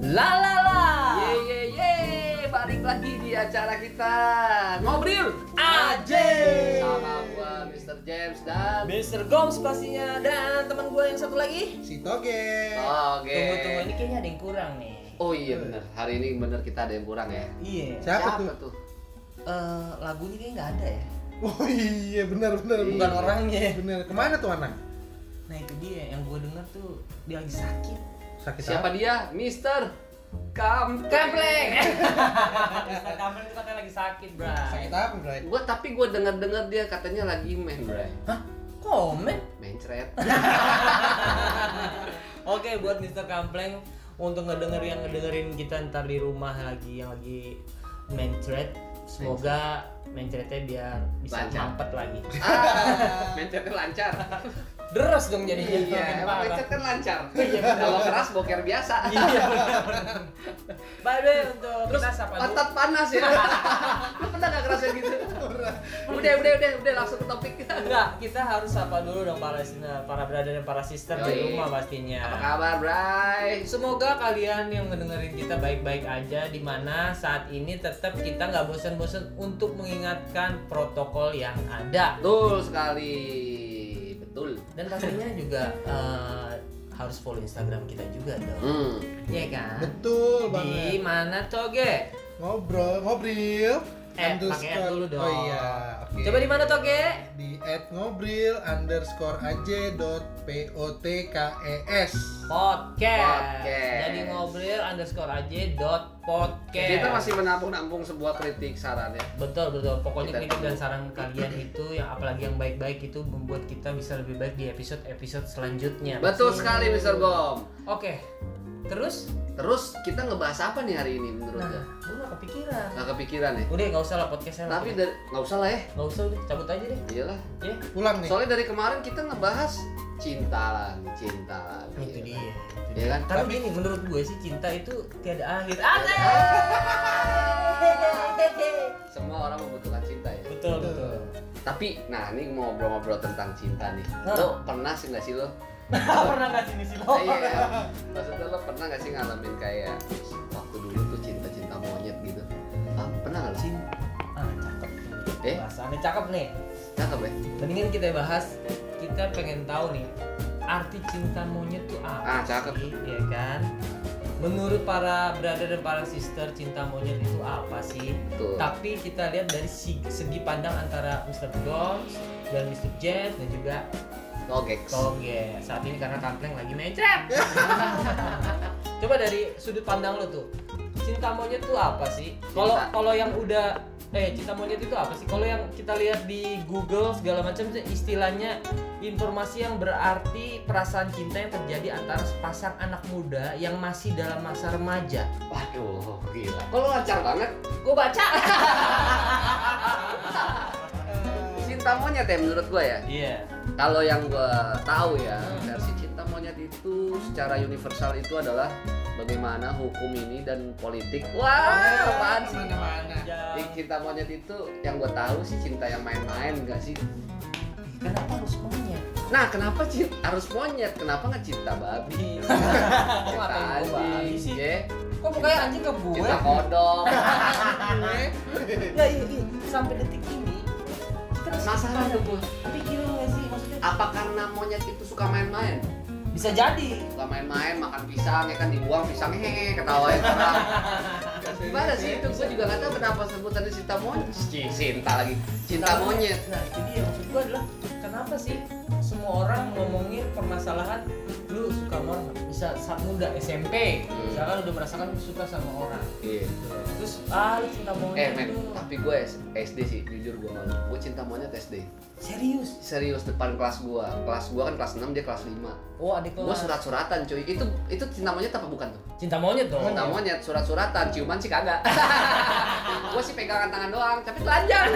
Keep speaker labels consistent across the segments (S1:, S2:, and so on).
S1: La la la.
S2: Ye ye ye, balik lagi di acara kita ngobrol
S1: Aje.
S2: sama gua Mr. James dan
S1: Mr. Goms pastinya dan teman gue yang satu lagi.
S3: Si Toge.
S2: Oke.
S1: Tunggu tunggu ini kayaknya ada yang kurang nih.
S2: Oh iya bener, hari ini bener kita ada yang kurang ya.
S1: Iya. Eh
S3: Siapa tuh?
S2: tuh?
S1: lagunya kayaknya nggak ada ya.
S3: Oh iya benar benar
S2: Bukan
S3: benar.
S1: orangnya.
S3: Benar. Kemana tuh anak?
S1: Nah itu dia yang gue denger tuh dia lagi sakit.
S3: Sakit
S2: Siapa
S3: apa?
S2: dia? Mr. Kam Kampleng.
S1: Mr. Kamran itu katanya lagi sakit, bro.
S3: Sakit apa Bray?
S2: gua tapi gua denger-denger dia katanya lagi main, Bray.
S1: Hah? Komen?
S2: Mencret.
S1: Oke buat Mr. Kampleng untuk ngedenger yang ngedengerin kita ntar di rumah lagi yang lagi main thread semoga main threadnya biar bisa
S2: Lancar.
S1: mampet lagi
S2: Ah, mencretnya lancar.
S1: deres dong jadinya
S2: Iya, emang
S1: Makin parah.
S2: mencret kan lancar.
S1: Iya, bener.
S2: Kalau keras boker biasa.
S1: iya benar. by the way untuk
S2: Terus
S1: kita siapa dulu?
S2: pantat panas ya. Lu pernah gak ngerasain gitu? udah, udah, udah, udah langsung ke topik.
S1: Enggak, kita harus sapa dulu dong para listener, para brother dan para sister di
S2: Yoi.
S1: rumah pastinya.
S2: Apa kabar, Bray?
S1: Semoga kalian yang ngedengerin kita baik-baik aja di mana saat ini tetap kita nggak bosan-bosan untuk mengingatkan protokol yang ada
S2: Betul sekali. Betul.
S1: dan pastinya juga eh, harus follow Instagram kita juga dong.
S2: Hmm.
S1: Iya kan?
S3: Betul
S1: Di
S3: banget.
S1: mana Toge?
S3: Ngobrol, ngobril.
S1: Eh, pakai
S3: underscore-
S1: ad dulu dong.
S3: Oh iya. oke.
S1: Coba di mana Toge?
S3: di at ngobril underscore aj dot p o t k e s
S1: Podcast.
S2: Podcast.
S1: Jadi ngobrol underscore aja dot podcast.
S2: Kita masih menampung-nampung sebuah kritik saran ya.
S1: Betul betul. Pokoknya
S2: Kita
S1: kritik dan
S2: tunggu.
S1: saran kalian itu yang apalagi yang baik-baik itu membuat kita bisa lebih baik di episode-episode selanjutnya.
S2: Betul sekali, Mr. Gom.
S1: Oke. Terus
S2: Terus kita ngebahas apa nih hari ini menurut
S1: nah,
S2: lo?
S1: gue gak kepikiran.
S2: Gak kepikiran ya?
S1: Udah nggak usah lah podcastnya. lah.
S2: Tapi dari, nggak usah lah ya.
S1: nggak usah udah cabut aja deh.
S2: Iyalah.
S1: Ya.
S3: pulang nih
S2: Soalnya dari kemarin kita ngebahas cinta lagi, cinta lagi.
S1: Itu dia. itu
S2: Iya
S1: dia.
S2: kan?
S1: Tapi gini menurut gue sih cinta itu tiada akhir. Asik!
S2: Semua orang membutuhkan cinta ya.
S1: betul betul.
S2: Tapi, nah ini mau ngobrol-ngobrol tentang cinta nih.
S1: Hah?
S2: Lo pernah sih nggak sih lo?
S1: Pernah nggak sini sih lo?
S2: Iya. Maksudnya lo pernah nggak sih ngalamin kayak waktu dulu tuh cinta-cinta monyet gitu? Ah, pernah nggak lo?
S1: Cinta. Ah cakep.
S2: Eh?
S1: Bahasannya cakep nih.
S2: Cakep ya?
S1: Mendingan kita bahas, kita pengen tahu nih arti cinta monyet tuh apa
S2: Ah, cakep.
S1: sih, ya kan? Menurut para brother dan para sister, cinta monyet itu apa sih?
S2: Tuh.
S1: Tapi kita lihat dari si- segi pandang antara Mr. Gomes dan Mr. Jeff dan juga
S2: Togek.
S1: Oh. Toge ya. saat ini karena Kampleng lagi mencret. Coba dari sudut pandang lo tuh, cinta monyet tuh apa sih? Kalau
S2: Cinta.
S1: kalau yang udah eh cinta monyet itu apa sih? Kalau yang kita lihat di Google segala macam tuh istilahnya informasi yang berarti perasaan cinta yang terjadi antara sepasang anak muda yang masih dalam masa remaja.
S2: Waduh, gila. Kok lo lancar banget?
S1: Gue baca.
S2: Cinta monyet ya menurut gua ya.
S1: Iya.
S2: Kalau yang gua tahu ya, versi cinta monyet itu secara universal itu adalah bagaimana hukum ini dan politik. Wah, apaan sih?
S3: mana
S2: Jadi cinta monyet itu yang gua tahu sih cinta yang main-main gak sih?
S1: Kenapa harus monyet?
S2: Nah, kenapa cinta harus monyet? Kenapa nggak cinta babi?
S1: Iya. Kok
S2: Cinta
S1: ngatain gue babi
S2: anjing,
S1: sih?
S2: ye.
S1: Kok mukanya anjing ke gue?
S2: cinta kodok.
S1: Ya iya, iya. sampai detik ini kita masih
S2: Penasaran Ah,
S1: ada
S2: tuh gua.
S1: Pikiran nggak sih maksudnya?
S2: Apa karena monyet itu suka main-main?
S1: Bisa jadi.
S2: Suka main-main, makan pisang, ya kan dibuang pisang, hehehe, ketawain orang. Gimana sih itu? Gue juga nggak tahu kenapa sebutannya cinta monyet. Ci- Cinta lagi, cinta monyet.
S1: Nah itu dia maksud gue adalah kenapa sih semua orang ngomongin permasalahan lu suka sama orang nggak? bisa saat muda SMP
S2: Hmm.
S1: misalkan udah merasakan lu suka sama orang
S2: Gitu.
S1: terus ah lu cinta
S2: Eh
S1: monyet
S2: men,
S1: lu.
S2: tapi gue S- SD sih, jujur gue malu. Gue cinta monyet SD.
S1: serius
S2: Serius depan kelas gue. Kelas gue kan kelas 6, dia kelas 5.
S1: oh adik
S2: Gue
S1: kelas
S2: surat-suratan cuy. Itu itu cinta monyet apa bukan tuh?
S1: cinta monyet dong
S2: Cinta monyet, surat-suratan, ciuman sih kagak. gue sih pegangan tangan doang, tapi telanjang.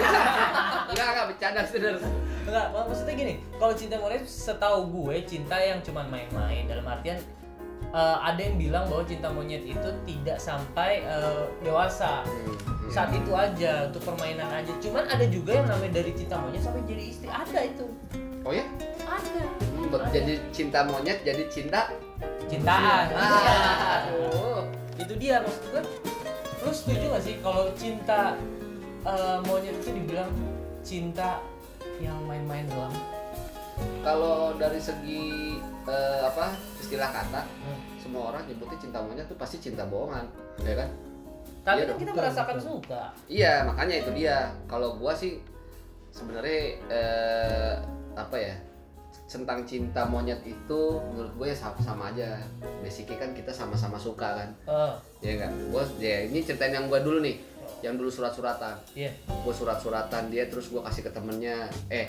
S2: Enggak, enggak bercanda serius.
S1: Enggak, mak- maksudnya gini, kalau cinta monyet setahu gue cinta yang cuman main-main dalam artian eh, ada yang bilang bahwa cinta monyet itu tidak sampai eh, dewasa.
S2: Iya.
S1: Saat itu aja untuk permainan aja. Cuman ada juga yang namanya dari cinta monyet sampai jadi istri ada itu.
S2: Oh ya?
S1: Ada.
S2: Hmm, Jadi cinta monyet jadi cinta.
S1: Cintaan.
S2: Aduh.
S1: Iya. itu dia maksud gue lu setuju gak sih kalau cinta eh, monyet itu dibilang cinta yang main-main doang
S2: Kalau dari segi eh, apa istilah kata, semua orang nyebutnya cinta monyet tuh pasti cinta bohongan, ya kan?
S1: tapi
S2: Iya
S1: kan
S2: dong,
S1: kita
S3: betul,
S1: merasakan
S3: betul.
S1: suka
S2: Iya, makanya itu dia. Kalau gua sih sebenarnya eh, apa ya? tentang cinta monyet itu menurut gue ya sama, sama aja basicnya kan kita sama-sama suka kan
S1: Eh,
S2: ya kan gue ya ini ceritain yang gue dulu nih yang dulu surat-suratan
S1: iya
S2: gue surat-suratan dia terus gue kasih ke temennya eh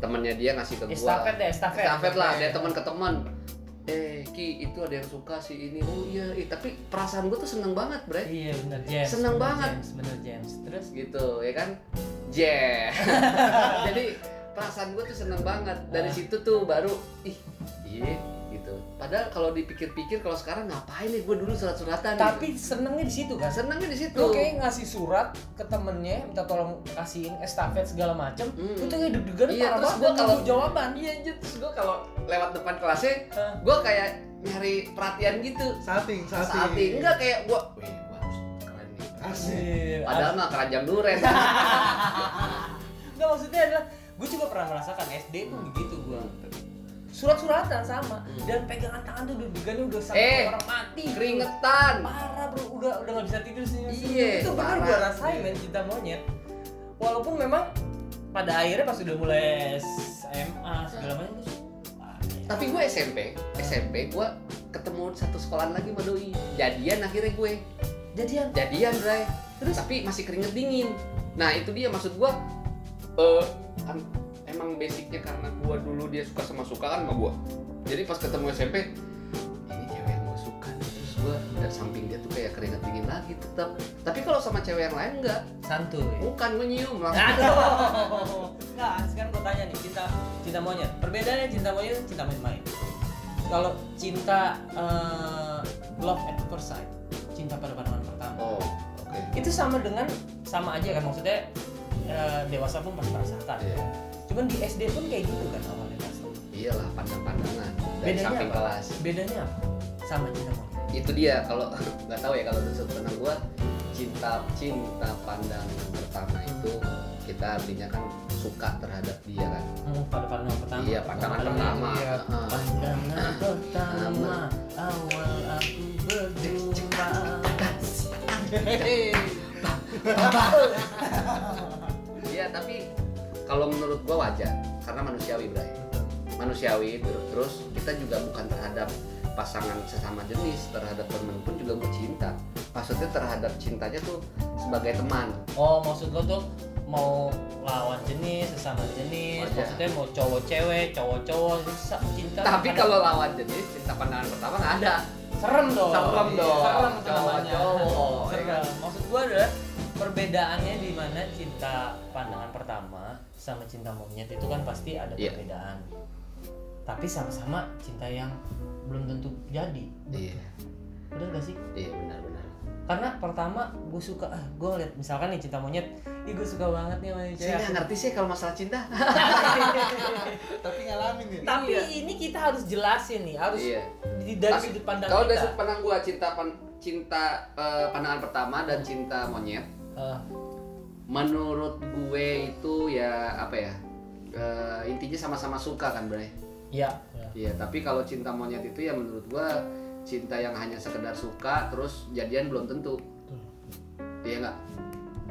S2: temennya dia ngasih ke gue
S1: estafet deh estafet Iya.
S2: estafet lah dari teman ke teman eh ki itu ada yang suka sih ini oh iya ih, tapi perasaan gue tuh seneng banget bre
S1: iya bener James
S2: Seneng
S1: bener,
S2: banget.
S1: James, bener James terus
S2: gitu ya kan jeh jadi perasaan gue tuh seneng banget
S1: Ah.
S2: dari situ tuh baru ih iya gitu padahal kalau dipikir-pikir kalau sekarang ngapain nih gue dulu surat-suratan gitu.
S1: Nah, tapi senengnya di situ kan
S2: senengnya di situ
S1: lu kayak ngasih surat ke temennya minta tolong kasihin estafet segala macem
S2: Mm.
S1: lu tuh kayak deg-degan
S2: Iya,
S1: parah
S2: terus
S1: banget
S2: gua
S1: nggak
S2: kalau-
S1: tahu jawaban
S2: iya anjir terus gue kalau lewat depan kelasnya
S1: Hah?
S2: gue kayak nyari perhatian gitu
S3: Salting, salting.
S2: saati enggak kayak gue wih gue harus keren nih
S3: Asik.
S2: Padahal mah keranjang duren.
S1: Enggak maksudnya adalah gue juga pernah merasakan SD pun begitu gue surat-suratan sama
S2: Hmm.
S1: dan pegangan tangan tuh deg-degannya udah sampai
S2: Eh,
S1: orang mati bro.
S2: Keringetan.
S1: parah bro udah udah nggak bisa tidur sih
S2: Iya,
S1: itu benar
S2: parah.
S1: gue rasain men cinta monyet walaupun memang pada akhirnya pas udah mulai SMA segala macam terus wah,
S2: Tapi gue SMP, SMP gue ketemu satu sekolahan lagi sama doi. Jadian akhirnya gue.
S1: jadian
S2: Jadian, Bray. Terus tapi masih keringet dingin. Nah, itu dia maksud gue eh an- emang basicnya karena gue dulu dia suka sama suka kan sama gue. Jadi pas ketemu SMP ini cewek yang gue suka nih. terus gue dari samping dia tuh kayak keringet dingin lagi tetap tapi kalau sama cewek yang lain enggak
S1: santuy
S2: bukan gue nyium langsung
S1: Aduh. Nah, sekarang gue tanya nih, cinta cinta monyet. Perbedaannya cinta monyet dan cinta main-main. Kalau cinta eh, love at first sight, cinta pada pandangan pertama,
S2: oh oke
S1: itu sama dengan sama aja kan maksudnya eh, dewasa pun pasti merasakan.
S2: Iya.
S1: Cuman di SD pun kayak gitu kan awalnya pasti.
S2: iyalah pandang-pandangan dari
S1: Bedanya
S2: samping
S1: apa?
S2: kelas
S1: Bedanya apa? Sama cinta monyet.
S2: itu dia kalau nggak tahu ya kalau menurut pernah gua cinta cinta pandangan pertama itu kita artinya kan suka terhadap dia kan
S1: Hmm, pada pandangan pertama.
S2: iya pandangan
S1: Pandangan
S2: pertama
S3: iya.
S2: Heeh.
S1: Pandangan pertama awal aku berjumpa.
S2: iya tapi kalau menurut gua wajar karena manusiawi bray manusiawi ter- terus kita juga bukan terhadap pasangan sesama jenis terhadap temen pun juga bercinta maksudnya terhadap cintanya tuh sebagai teman
S1: Oh, maksud lo tuh mau lawan jenis, sesama jenis,
S2: Wajar.
S1: maksudnya mau cowok cewek, cowok cowok, cinta.
S2: tapi
S1: ada-
S2: kalau lawan jenis cinta pandangan pertama nggak ada
S1: serem dong. Iya,
S2: Serem dong.
S1: Serem
S2: Cowok,
S1: namanya.
S2: cowok, ya
S1: Serem.
S2: kan?
S1: Oh, iya. Maksud gua adalah perbedaannya di mana cinta pandangan pertama sama cinta monyet itu kan pasti ada
S2: Iya.
S1: perbedaan. Tapi sama-sama cinta yang belum tentu jadi.
S2: iya
S1: Bener gak sih?
S2: iya benar-benar
S1: Karena pertama gue suka, ah, gue ngeliat misalkan nih cinta monyet, ih gue suka banget nih sama ini
S2: Saya
S1: cewek.
S2: nggak ngerti sih kalau masalah cinta.
S3: Tapi ngalamin ya.
S1: Tapi
S2: Iya.
S1: ini kita harus jelasin nih, harus
S2: Iya.
S1: di- dari
S2: Tapi
S1: sudut pandang
S2: Kalau dari
S1: kita.
S2: sudut pandang gua cinta pan- cinta eh, pandangan pertama dan cinta monyet,
S1: Eh,
S2: menurut gue itu ya apa ya? eh, intinya sama-sama suka kan, Bray.
S1: ya.
S2: Iya, tapi kalau cinta monyet itu ya menurut gua cinta yang hanya sekedar suka terus jadian belum tentu. Iya nggak?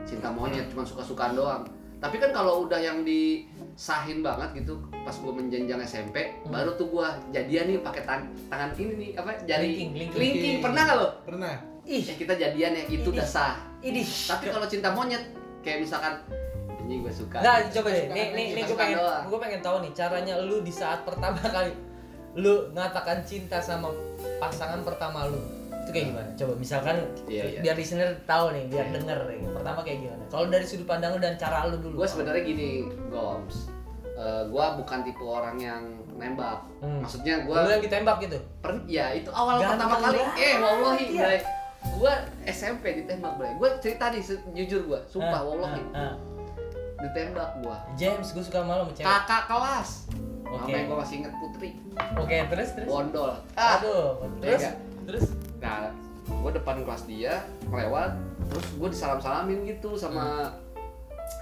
S2: Cinta monyet cuma suka-sukaan doang. Tapi kan kalau udah yang disahin banget gitu pas gua menjenjang SMP,
S1: Hmm.
S2: baru tuh gua jadian nih pakai tan- tangan ini nih apa jari
S1: Linking, linking.
S2: linking. Pernah nggak lo?
S3: Pernah.
S1: Ih,
S2: Eh, kita jadian ya itu
S1: Ini.
S2: udah sah.
S1: ini.
S2: Tapi kalau cinta monyet kayak misalkan ini gue suka.
S1: Nah, coba deh.
S3: Suka
S1: Nih, nih, nih gue
S2: suka
S1: pengen,
S2: Kan. doang.
S1: gue pengen tahu nih caranya lu di saat pertama kali lu ngatakan cinta sama pasangan pertama lu itu kayak gimana? Coba misalkan
S2: Nah. Iya, iya.
S1: biar listener tahu nih, biar
S2: Iya.
S1: denger nih. Pertama kayak gimana? Kalau dari sudut pandang lu dan cara lu dulu.
S2: gue sebenarnya gini Goms Eh, gue bukan tipe orang yang nembak
S1: Hmm.
S2: maksudnya
S1: lu
S2: gue
S1: yang ditembak gitu.
S2: per ya itu awal
S1: Ganteng
S2: pertama kali
S1: banget
S2: eh wallahi
S1: ya.
S2: Bray. gue SMP ditembak bray gue cerita nih se- jujur gue
S1: Ah,
S2: sumpah gitu. wallahi
S1: ah, ah.
S2: ditembak gue
S1: James, gue suka malu sama cewek.
S2: kakak kelas
S1: Oke.
S2: namanya gue masih inget Putri
S1: Oke, terus Oh, terus.
S2: Bondol ah
S1: Aduh, terus
S2: Iya.
S1: terus
S2: nah gue depan kelas dia melewat terus gue disalam salamin gitu sama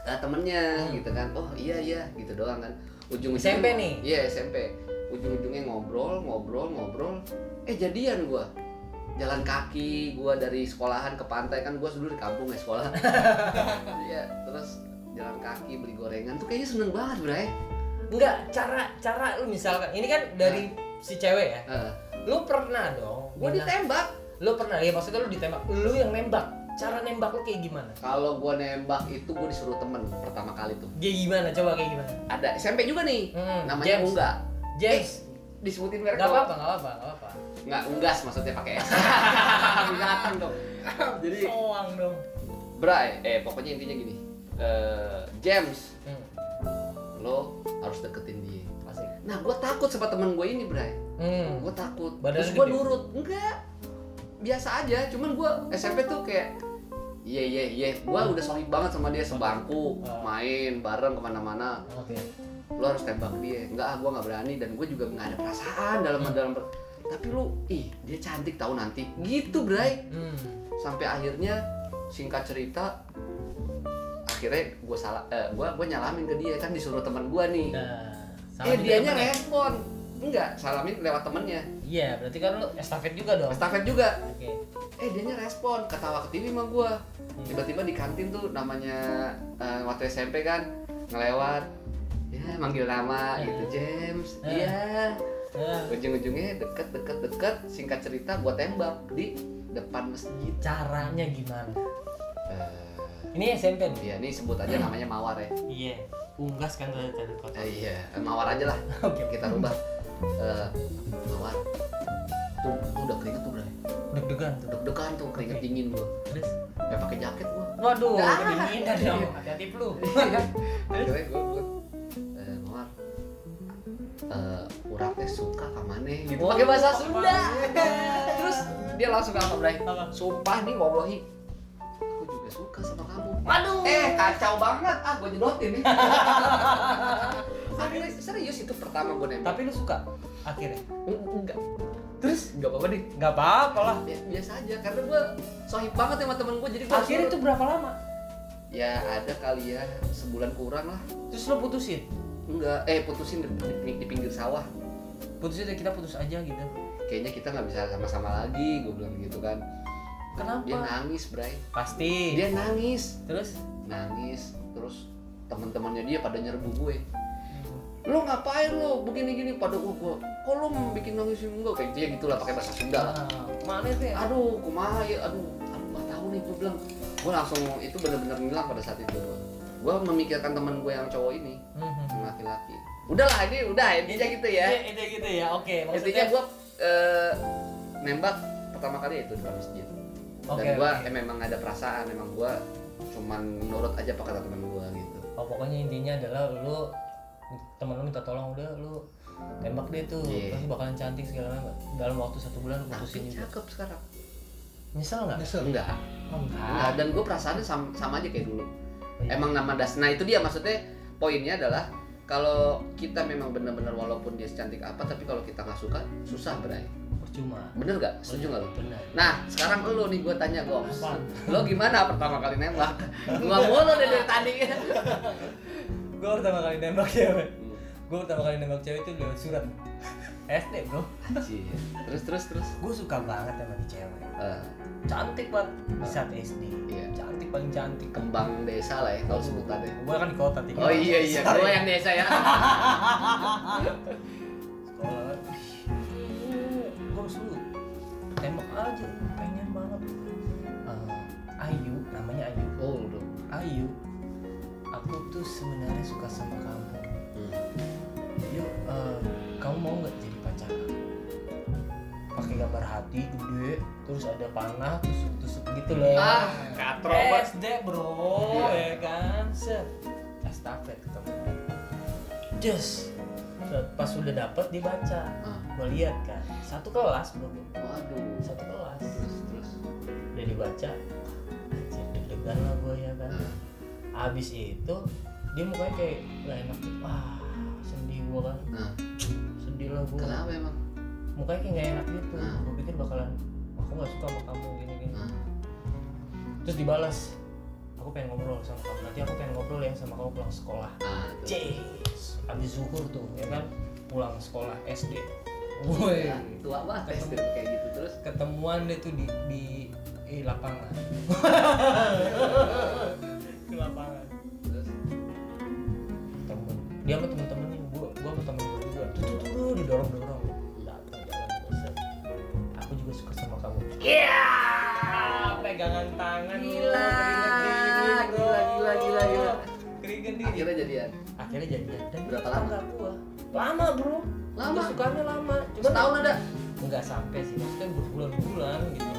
S2: eh, temennya
S1: Hmm.
S2: gitu kan oh iya iya gitu doang kan ujung
S1: SMP nih?
S2: iya SMP ujung ujungnya ngobrol ngobrol ngobrol eh jadian gue jalan kaki gue dari sekolahan ke pantai kan gue dulu di kampung ya sekolah iya terus jalan kaki beli gorengan tuh kayaknya seneng banget bray
S1: Enggak, cara cara lu misalkan ini kan dari si cewek ya.
S2: Heeh.
S1: Lu pernah dong?
S2: gue
S1: minta-
S2: Eh, ditembak
S1: Lu pernah ya maksudnya lu ditembak. Lu yang nembak. Cara nembak lu kayak gimana?
S2: kalau gue nembak itu gue disuruh temen pertama kali tuh
S1: Kayak gimana? Coba kayak gimana?
S2: ada SMP juga nih
S1: Hmm,
S2: namanya
S1: James.
S2: enggak
S1: James,
S2: disebutin merek
S1: enggak
S2: dong.
S1: apa-apa, enggak apa-apa, enggak apa-apa.
S2: nggak unggas maksudnya pakai s binatang dong jadi
S1: Soang dong.
S2: Bray eh pokoknya intinya gini Eh, James
S1: Hmm,
S2: lo harus deketin dia
S1: asik.
S2: nah gue takut sama temen gue ini Bray
S1: Hmm.
S2: gue takut
S1: Badannya
S2: terus gue
S1: gede?
S2: nurut enggak biasa aja cuman gue SMP tuh kayak iya iya iya gue udah sohib banget sama dia sebangku
S1: Hmm. Ah.
S2: main bareng kemana-mana
S1: Oke.
S2: lo harus tembak dia enggak ah gue nggak berani dan gue juga nggak ada perasaan dalam dalam per- tapi lu ih dia cantik tahu nanti gitu bray
S1: Hmm.
S2: sampai akhirnya singkat cerita akhirnya gue salah eh, gue gue nyalamin ke dia kan disuruh teman gue nih
S1: Nah,
S2: eh
S1: salamin
S2: dianya
S1: dari mana?
S2: respon enggak salamin lewat temennya
S1: Iya, berarti kan lu estafet juga dong.
S2: estafet juga
S1: Oke.
S2: eh dianya respon ketawa ke TV sama gue
S1: Hmm.
S2: tiba-tiba di kantin tuh namanya eh, waktu SMP kan ngelewat ya manggil nama gitu James iya
S1: Nah,
S2: ujung-ujungnya deket deket deket singkat cerita gue tembak di depan masjid
S1: caranya gimana?
S2: Eh,
S1: Ini SMP nih.
S2: ya ini sebut aja namanya mawar ya
S1: Iya. Unggas kan tadi tadi kota.
S2: Eh, iya eh, mawar aja lah
S1: Oke.
S2: kita rubah Eh, mawar tuh tuh udah keringet tuh bray
S1: Deg-degan tuh.
S2: deg-degan tuh keringet dingin gue
S1: Terus
S2: nggak pakai jaket gue
S1: Waduh,
S2: Ah.
S1: kedinginan dong. Hati-hati lu.
S2: akhirnya gue gue eh, mawar eh urang teh suka ka maneh gitu
S1: Oh,
S2: pakai bahasa
S1: suka
S2: Sunda
S1: ka maneh.
S2: terus dia langsung apa bray
S1: Apa?
S2: sumpah nih wallahi aku juga suka sama kamu
S1: Waduh.
S2: eh kacau banget ah gue jedotin nih akhirnya serius itu pertama gue nembak
S1: Tapi lu suka akhirnya.
S2: enggak terus nggak apa-apa deh
S1: Nggak apa-apa lah.
S2: Bi- biasa aja karena gue sohib banget sama temen gue jadi gue
S1: Akhirnya itu berapa lama?
S2: ya ada kali ya sebulan kurang lah
S1: Terus lu putusin.
S2: enggak eh putusin di, di, di pinggir sawah
S1: Putusin deh, kita putus aja gitu.
S2: kayaknya kita nggak bisa sama-sama lagi gue bilang gitu kan dia
S1: Kenapa?
S2: nangis Bray
S1: Iya. Pasti.
S2: dia nangis
S1: Terus
S2: nangis terus teman-temannya dia pada nyerbu gue lo ngapain lo begini gini pada gue gue kok lo mau bikin nangis enggak kayak dia gitulah pakai bahasa Sunda lah
S1: Ah, mana sih?
S2: aduh kumaha ya aduh aduh gak tahu nih gue bilang gue langsung itu bener-bener ngilang pada saat itu gue gue memikirkan teman gue yang cowok ini
S1: Mhm.
S2: yang laki-laki udahlah ini udah intinya gitu ya
S1: Iya, itu gitu ya. Oke,
S2: intinya
S1: maksudnya
S2: gue eh, nembak pertama kali itu di depan masjid dan
S1: Oke,
S2: gue
S1: oke.
S2: memang ada perasaan emang gue cuman nurut aja apa kata teman gue gitu
S1: Oh, pokoknya intinya adalah lu temen lu minta tolong udah lu tembak dia tuh
S2: Iya.
S1: pasti bakalan cantik segala macam dalam waktu satu bulan lu
S2: tapi
S1: putusin juga
S2: cakep sekarang
S1: nyesel nggak
S3: Nyesel.
S2: enggak
S1: oh,
S2: Enggak,
S1: enggak
S2: dan gue perasaannya sama, sama aja kayak dulu
S1: Iya.
S2: emang nama das nah itu dia maksudnya poinnya adalah kalau kita memang benar-benar walaupun dia secantik apa tapi kalau kita nggak suka susah berai
S1: percuma
S2: bener nggak setuju nggak lo
S1: benar
S2: nah sekarang lo nih gue tanya Goms
S1: Apaan?
S2: lo gimana pertama kali nembak gua mulu deh dari tadi
S1: gue pertama kali nembak cewek gue pertama kali nembak cewek itu lewat surat SD bro
S2: Anjir. terus terus terus
S1: gue suka banget sama di cewek
S2: Eh,
S1: cantik banget di saat SD
S2: Iya.
S1: cantik paling cantik
S2: kembang desa lah ya kalau sebutannya
S1: gue kan di kota tinggal
S2: oh iya iya
S1: Besar
S2: gue
S1: ya.
S2: yang desa ya
S1: sekolah gue lu tembak aja pengen banget Eh,
S2: Ah.
S1: Ayu namanya Ayu
S2: oh udah
S1: Ayu aku tuh sebenarnya suka sama kamu
S2: Hmm.
S1: yuk eh, kamu mau nggak jadi pacar aku? pakai gambar hati gede terus ada panah tusuk tusuk gitu loh
S2: ah katro banget.
S1: SD bro
S2: Iya.
S1: ya kan set estafet ketemu just pas udah dapet dibaca
S2: Ah,
S1: gue lihat kan satu kelas bro
S2: waduh
S1: satu kelas
S2: terus terus
S1: udah dibaca anjir deg-degan lah gue ya kan
S2: Ah.
S1: abis itu dia mukanya kayak gak enak gitu. wah sedih gue kan
S2: Nah,
S1: sedih lah gue
S2: kenapa emang?
S1: mukanya kayak gak enak gitu
S2: Ah.
S1: gue pikir bakalan aku gak suka sama kamu gini terus dibalas aku pengen ngobrol sama kamu nanti aku pengen ngobrol ya sama kamu pulang sekolah
S2: Ah, itu.
S1: Cie, habis zuhur tuh ya kan pulang sekolah SD woi
S2: Ya, tua banget
S1: Ketemu.
S2: SD kayak gitu terus
S1: ketemuan deh tuh di di, di lapangan di lapangan
S2: terus
S1: temen dia sama temen-temennya gua gua sama temen gua juga tuh tuh tuh, tuh Iya, didorong dorong datang jalan bosan aku juga suka sama kamu iya
S2: Iya.
S1: Ah, pegangan tangan bro.
S2: Gila,
S1: Keringet dingin, bro.
S2: gila, gila, gila, gila.
S1: keringet dingin
S2: akhirnya ya. jadian
S1: akhirnya jadian dan
S2: Berapa
S1: dia tetangga gua lama bro
S2: Lama?
S1: Udah sukanya lama cuma kan
S2: setahun ada
S1: nggak sampai sih maksudnya berbulan-bulan gitu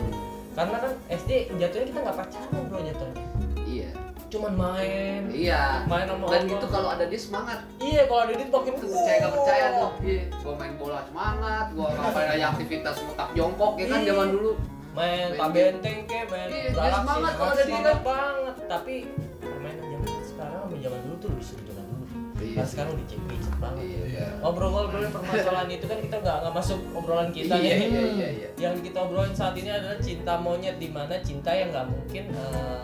S1: karena kan SD jatuhnya kita nggak pacaran bro jatuhnya
S2: iya
S1: cuman main
S2: iya
S1: main sama
S2: dan
S1: Allah.
S2: itu kalau ada dia semangat
S1: iya kalau ada itu makin
S2: Itu percaya nggak percaya
S1: wow.
S2: tuh iya gua main bola semangat gua ngapain aja aktivitas mutak jongkok ya kan zaman dulu
S1: main
S2: Main
S1: tak
S2: game.
S1: benteng ke main
S2: Iya, dia
S1: galaksi
S2: semangat kalau
S1: galaksi
S2: ada dia
S1: semangat banget tapi permainan zaman sekarang sama zaman dulu tuh lebih seru zaman dulu
S2: iya
S1: karena sekarang udah cek cek banget
S2: iya
S1: obrol-obrolin permasalahan itu kan kita nggak nggak masuk obrolan kita
S2: Iya,
S1: nih.
S2: iya, iya, iya.
S1: yang kita obrolin saat ini adalah cinta monyet di mana cinta yang nggak mungkin eh,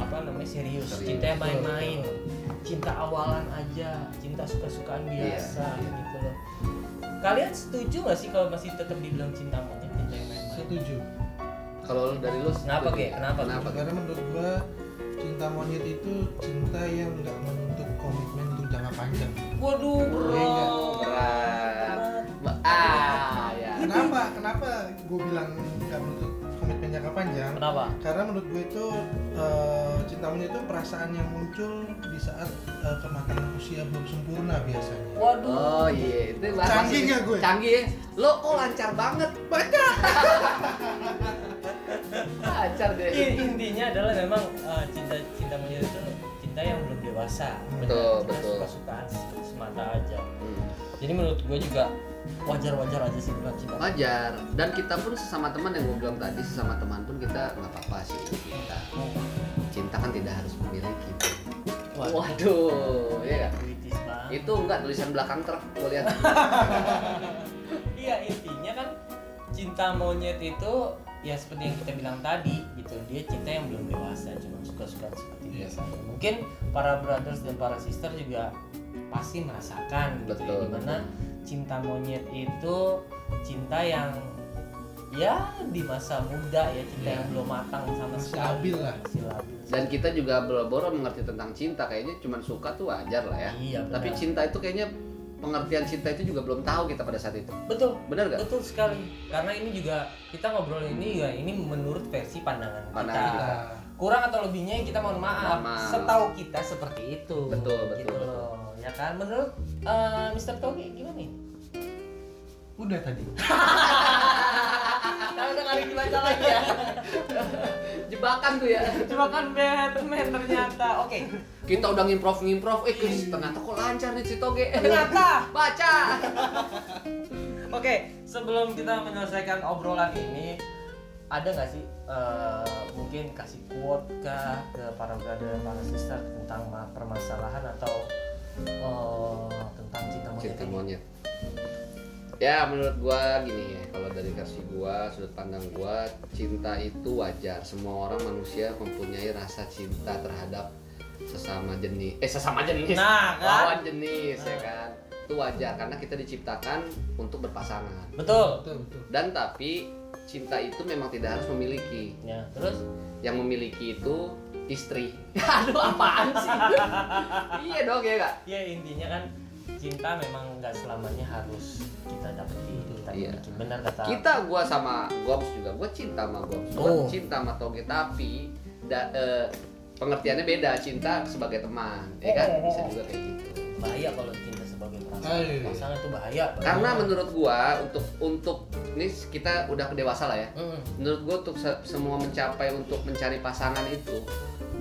S1: apa namanya serius,
S2: Serius.
S1: cinta yang main-main cinta awalan aja cinta suka-sukaan
S2: Iya,
S1: biasa
S2: iya.
S1: gitu loh kalian setuju nggak sih kalau masih tetap dibilang cinta monyet cinta yang main-main
S3: setuju
S2: kalau lu dari lu
S1: Kenapa,
S2: setuju?
S1: Ge? Kenapa? Iya,
S2: kenapa Ge?
S3: karena Nah, menurut gua cinta monyet itu cinta yang nggak menuntut komitmen untuk jangka panjang
S1: waduh bro
S3: Iya, nggak?
S2: berat Ba- ah ya
S3: kenapa kenapa gua bilang nggak menuntut komitmen jangka panjang
S1: kenapa
S3: karena menurut gue itu eh, cinta monyet itu perasaan yang muncul di saat eh, kematangan usia belum sempurna biasanya
S1: waduh
S2: Oh iya, itu bahasa
S3: Canggih
S2: Inggris.
S3: nggak gue?
S2: Canggih ya. Lo kok lancar banget? Baca. lancar deh.
S1: I- Iya, intinya adalah memang eh, cinta cinta monyet itu cinta yang belum dewasa
S2: Betul,
S1: Benar-benar
S2: betul.
S1: suka-sukaan semata aja jadi menurut gue juga wajar-wajar aja sih bilang cinta
S2: Wajar. Dan kita pun sesama teman yang gue bilang tadi, sesama teman pun kita nggak apa-apa sih cinta. Cinta kan tidak harus memiliki.
S1: Waduh,
S2: Waduh, iya nggak?
S1: kritis banget.
S2: Itu enggak tulisan belakang truk, gue lihat.
S1: Iya intinya kan cinta monyet itu ya seperti yang kita bilang tadi gitu dia cinta yang belum dewasa cuma suka-suka seperti
S3: Iya.
S1: biasa mungkin para brothers dan para sister juga pasti merasakan gitu ya
S2: Betul.
S1: dimana cinta monyet itu cinta yang ya di masa muda ya cinta
S3: Iya.
S1: yang belum matang sama
S3: Masih
S1: sekali
S3: labil lah.
S1: masih labil
S2: Dan kita juga boro-boro mengerti tentang cinta, kayaknya cuman suka tuh wajar lah ya.
S1: iya
S2: Tapi
S1: benar.
S2: cinta itu kayaknya pengertian cinta itu juga belum tahu kita pada saat itu.
S1: betul
S2: Benar gak?
S1: Betul sekali. Karena ini juga kita ngobrol ini juga ini menurut versi pandangan,
S2: Pandangan
S1: kita.
S2: kita.
S3: Nah,
S1: Kurang atau lebihnya kita mohon maaf.
S2: Mohon maaf.
S1: Setahu kita seperti itu.
S2: Betul, betul,
S1: Gitu
S2: betul.
S1: loh. Ya kan? Menurut eh, Mr. Togi gimana nih?
S3: udah tadi
S1: Kita Ah, udah kali dibaca lagi ya.
S2: Jebakan tuh ya.
S1: Cuma kan Batman ternyata. Oke.
S2: Kita udah ngimprov ngimprov, eh terus ternyata kok lancar nih si toge.
S1: Eh, Ternyata.
S2: Baca.
S1: Oke, sebelum kita menyelesaikan obrolan ini, ada nggak sih eh, mungkin kasih quote kah ke para brother dan para sister tentang ma- permasalahan atau eh, tentang cinta monyet
S2: Cinta
S1: ini?
S2: monyet. Ya menurut gua gini ya, kalau dari versi gua, sudut pandang gua, cinta itu wajar. Semua orang manusia mempunyai rasa cinta terhadap sesama jenis. Eh sesama jenis.
S1: Nah, kan?
S2: Lawan jenis ya kan. Itu wajar karena kita diciptakan untuk berpasangan.
S1: Betul.
S3: betul betul
S2: Dan tapi cinta itu memang tidak harus memiliki.
S1: Ya, terus
S2: Yang memiliki itu istri. Aduh apaan sih? iya dong ya kak.
S1: ya intinya kan cinta memang nggak selamanya harus kita dapetin kita
S2: Iya.
S1: miliki. benar kata
S2: Kita gua sama Goms juga, gua cinta sama Goms, gua
S1: Oh.
S2: cinta sama Toge tapi da- eh, pengertiannya beda cinta sebagai teman,
S1: Eh,
S2: ya kan bisa juga kayak gitu.
S1: bahaya kalau cinta sebagai perasaan
S3: Ayo.
S1: pasangan itu bahaya
S2: Karena menurut gua untuk untuk ini kita udah dewasa lah ya.
S1: Mm.
S2: Menurut gua untuk se- semua mencapai untuk mencari pasangan itu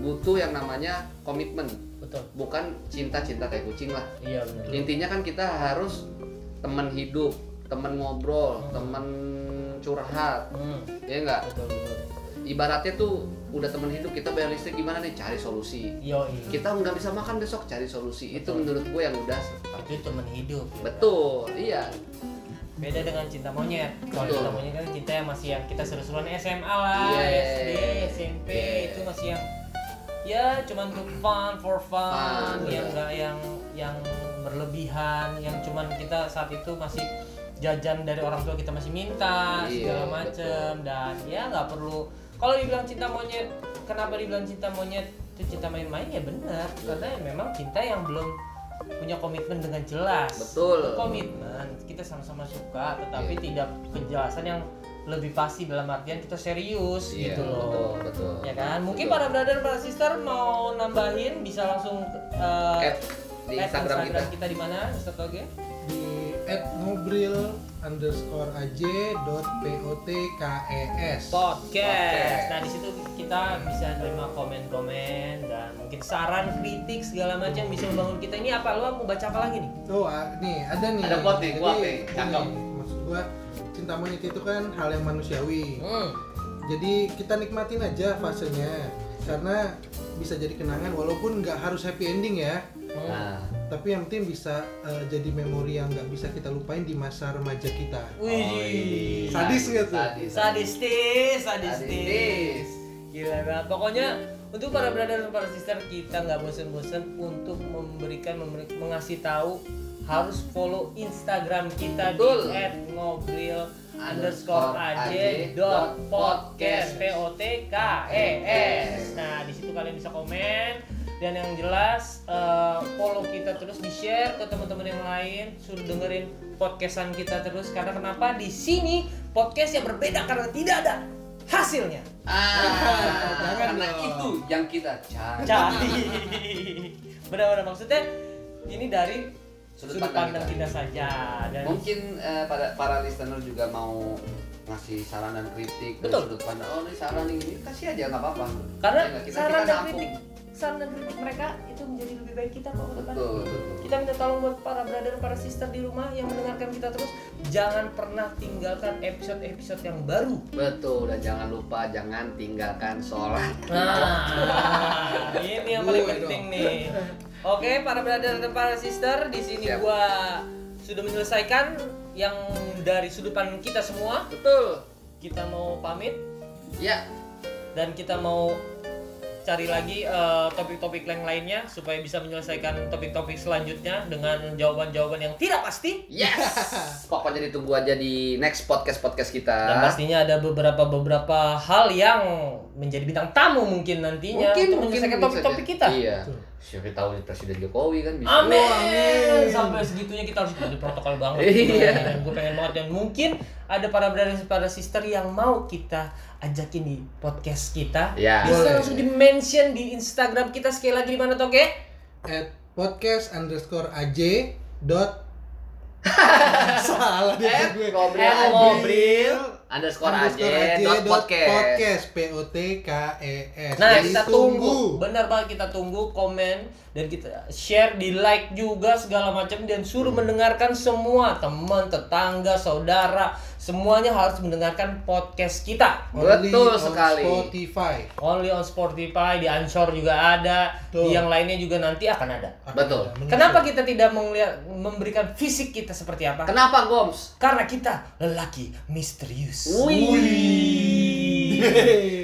S2: butuh yang namanya komitmen,
S1: betul
S2: bukan cinta-cinta kayak kucing lah.
S1: iya benar
S2: intinya kan kita harus teman hidup teman ngobrol
S1: Hmm.
S2: teman curhat
S1: Mm.
S2: ya enggak
S1: betul betul
S2: ibaratnya tuh udah teman hidup kita bayar listrik gimana nih cari solusi
S1: Yoi.
S2: kita nggak bisa makan besok cari solusi itu
S1: Betul.
S2: menurut gue yang udah setepat.
S1: itu teman hidup ya kan?
S2: betul iya
S1: beda dengan cinta monyet kalau
S2: Betul.
S1: cinta monyet kan cinta yang masih yang kita seru-seruan SMA lah
S2: Iya.
S1: SD SMP
S2: Iya.
S1: itu masih yang ya cuman untuk fun for fun,
S2: Fun,
S1: yang
S2: benar.
S1: enggak yang yang berlebihan yang cuman kita saat itu masih jajan dari orang tua kita masih minta
S2: Iya,
S1: segala macem dan ya nggak perlu kalau dibilang cinta monyet kenapa dibilang cinta monyet itu cinta main-main ya benar karena ya memang cinta yang belum punya komitmen dengan jelas
S2: Betul.
S1: Itu komitmen Nah, kita sama-sama suka tetapi
S2: Iya.
S1: tidak kejelasan yang lebih pasti dalam artian kita serius
S2: Iya,
S1: gitu loh
S2: betul, betul.
S1: ya kan mungkin
S2: Betul.
S1: para brother para sister mau nambahin bisa langsung eh,
S2: Add di
S1: add
S2: Instagram, kita.
S1: kita di mana Mr. Toge
S3: di at ngobril underscore aj dot e
S1: podcast. Nah di situ kita bisa terima komen-komen dan mungkin saran, kritik segala macam bisa membangun kita. Ini apa lo mau baca apa lagi nih?
S3: Tuh, ah, nih ada nih.
S2: Ada quote nih,
S3: Jadi,
S2: quote nih,
S3: gini,
S2: cakep.
S3: Maksud gua cinta monyet itu kan hal yang manusiawi.
S1: Hmm.
S3: Jadi kita nikmatin aja fasenya karena bisa jadi kenangan walaupun nggak harus happy ending ya.
S2: Nah,
S3: Tapi yang penting bisa eh, jadi memori yang nggak bisa kita lupain di masa remaja kita.
S2: Oh, iya.
S1: Wih.
S3: Sadis. nggak tuh?
S2: Sadis.
S1: Sadistis, sadistis.
S2: Sadistis.
S1: Gila banget. Pokoknya untuk para brother dan para sister kita nggak bosen-bosen untuk memberikan memberi, mengasih tahu harus follow Instagram kita
S2: Betul.
S1: di @ngobril underscore
S2: Underscore
S1: aj
S2: AJ
S1: dot
S2: dot
S1: podcast
S2: podcast.
S1: p o t k e s nah di situ kalian bisa komen dan yang jelas eh, follow kita terus di share ke teman-teman yang lain suruh dengerin podcastan kita terus karena kenapa di sini podcast yang berbeda karena tidak ada hasilnya
S2: Ah,
S3: Jangan
S2: karena
S3: dong.
S2: itu yang kita cari.
S1: cari benar-benar maksudnya ini dari sudut,
S2: Sudut
S1: pandang
S2: pandang
S1: kita saja dan
S2: Mungkin eh, pada para listener juga mau ngasih saran dan kritik dari
S1: Betul.
S2: sudut pandang. Oh, ini saran ini, ini kasih aja nggak apa-apa.
S1: karena
S2: Ya nggak, kita-
S1: saran
S2: kita
S1: dan
S2: nampung.
S1: kritik saran dan kritik mereka itu menjadi lebih baik kita kok ke depan
S2: Betul, betul.
S1: kita minta tolong buat para brother para sister di rumah yang mendengarkan kita terus jangan pernah tinggalkan episode-episode yang baru
S2: Betul, dan jangan lupa jangan tinggalkan sholat.
S1: Nah, ini yang paling
S3: Gue
S1: penting nih. Oke, para brother dan para sister, di sini
S2: Siap.
S1: gua sudah menyelesaikan yang dari sudut pandang kita semua.
S2: Betul.
S1: Kita mau pamit
S2: Ya,
S1: dan kita mau cari lagi eh, topik-topik yang lainnya supaya bisa menyelesaikan topik-topik selanjutnya dengan jawaban-jawaban yang tidak pasti.
S2: yes. Pokoknya ditunggu aja di next podcast podcast kita.
S1: Dan pastinya ada beberapa beberapa hal yang menjadi bintang tamu mungkin nantinya
S2: mungkin
S1: untuk
S2: mungkin
S1: menyelesaikan
S2: bisa
S1: topik-topik
S2: jadi.
S1: kita.
S2: Iya.
S3: Betul.
S2: Siapa tahu presiden Jokowi kan bisa.
S1: Amin.
S2: Wah,
S1: Sampai segitunya kita harus jadi protokol banget.
S2: Iya.
S1: Gue pengen banget dan mungkin ada para brother dan para sister yang mau kita ajakin di podcast kita.
S2: Ya.
S1: Bisa
S3: Boleh.
S1: langsung di mention di Instagram kita sekali lagi di mana Toge?
S3: At podcast underscore aj dot salah deh
S2: Eh,
S3: gue.
S2: ngobrol.
S1: Eh, ngobrol.
S2: Underscore aja. Dot podcast.
S3: podcast p o t k e s
S1: Nah, kita tunggu. Benar banget kita tunggu komen dan kita share, di like juga segala macam dan suruh mendengarkan semua teman, tetangga, saudara, semuanya harus mendengarkan podcast kita.
S3: Only
S2: Betul
S3: on
S2: sekali.
S3: Spotify
S1: Only on Spotify, di Anchor juga ada,
S3: Betul.
S1: di yang lainnya juga nanti akan ada.
S3: Akan
S2: Betul.
S3: ada menyusul.
S1: Kenapa kita tidak melihat memberikan fisik kita seperti apa?
S2: Kenapa Goms?
S1: Karena kita lelaki misterius.
S2: Wih.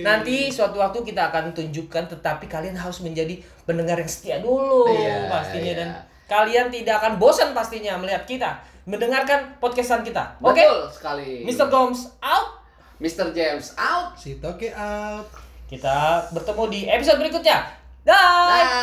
S1: Nanti suatu waktu kita akan tunjukkan tetapi kalian harus menjadi pendengar yang setia dulu
S2: Iya,
S1: pastinya
S2: iya.
S1: dan kalian tidak akan bosan pastinya melihat kita, mendengarkan podcastan kita. Oke.
S2: Betul sekali.
S1: Mr. Gomes out.
S2: Mr. James out.
S3: si toke out
S1: Kita bertemu di episode berikutnya. Dah.
S2: Bye.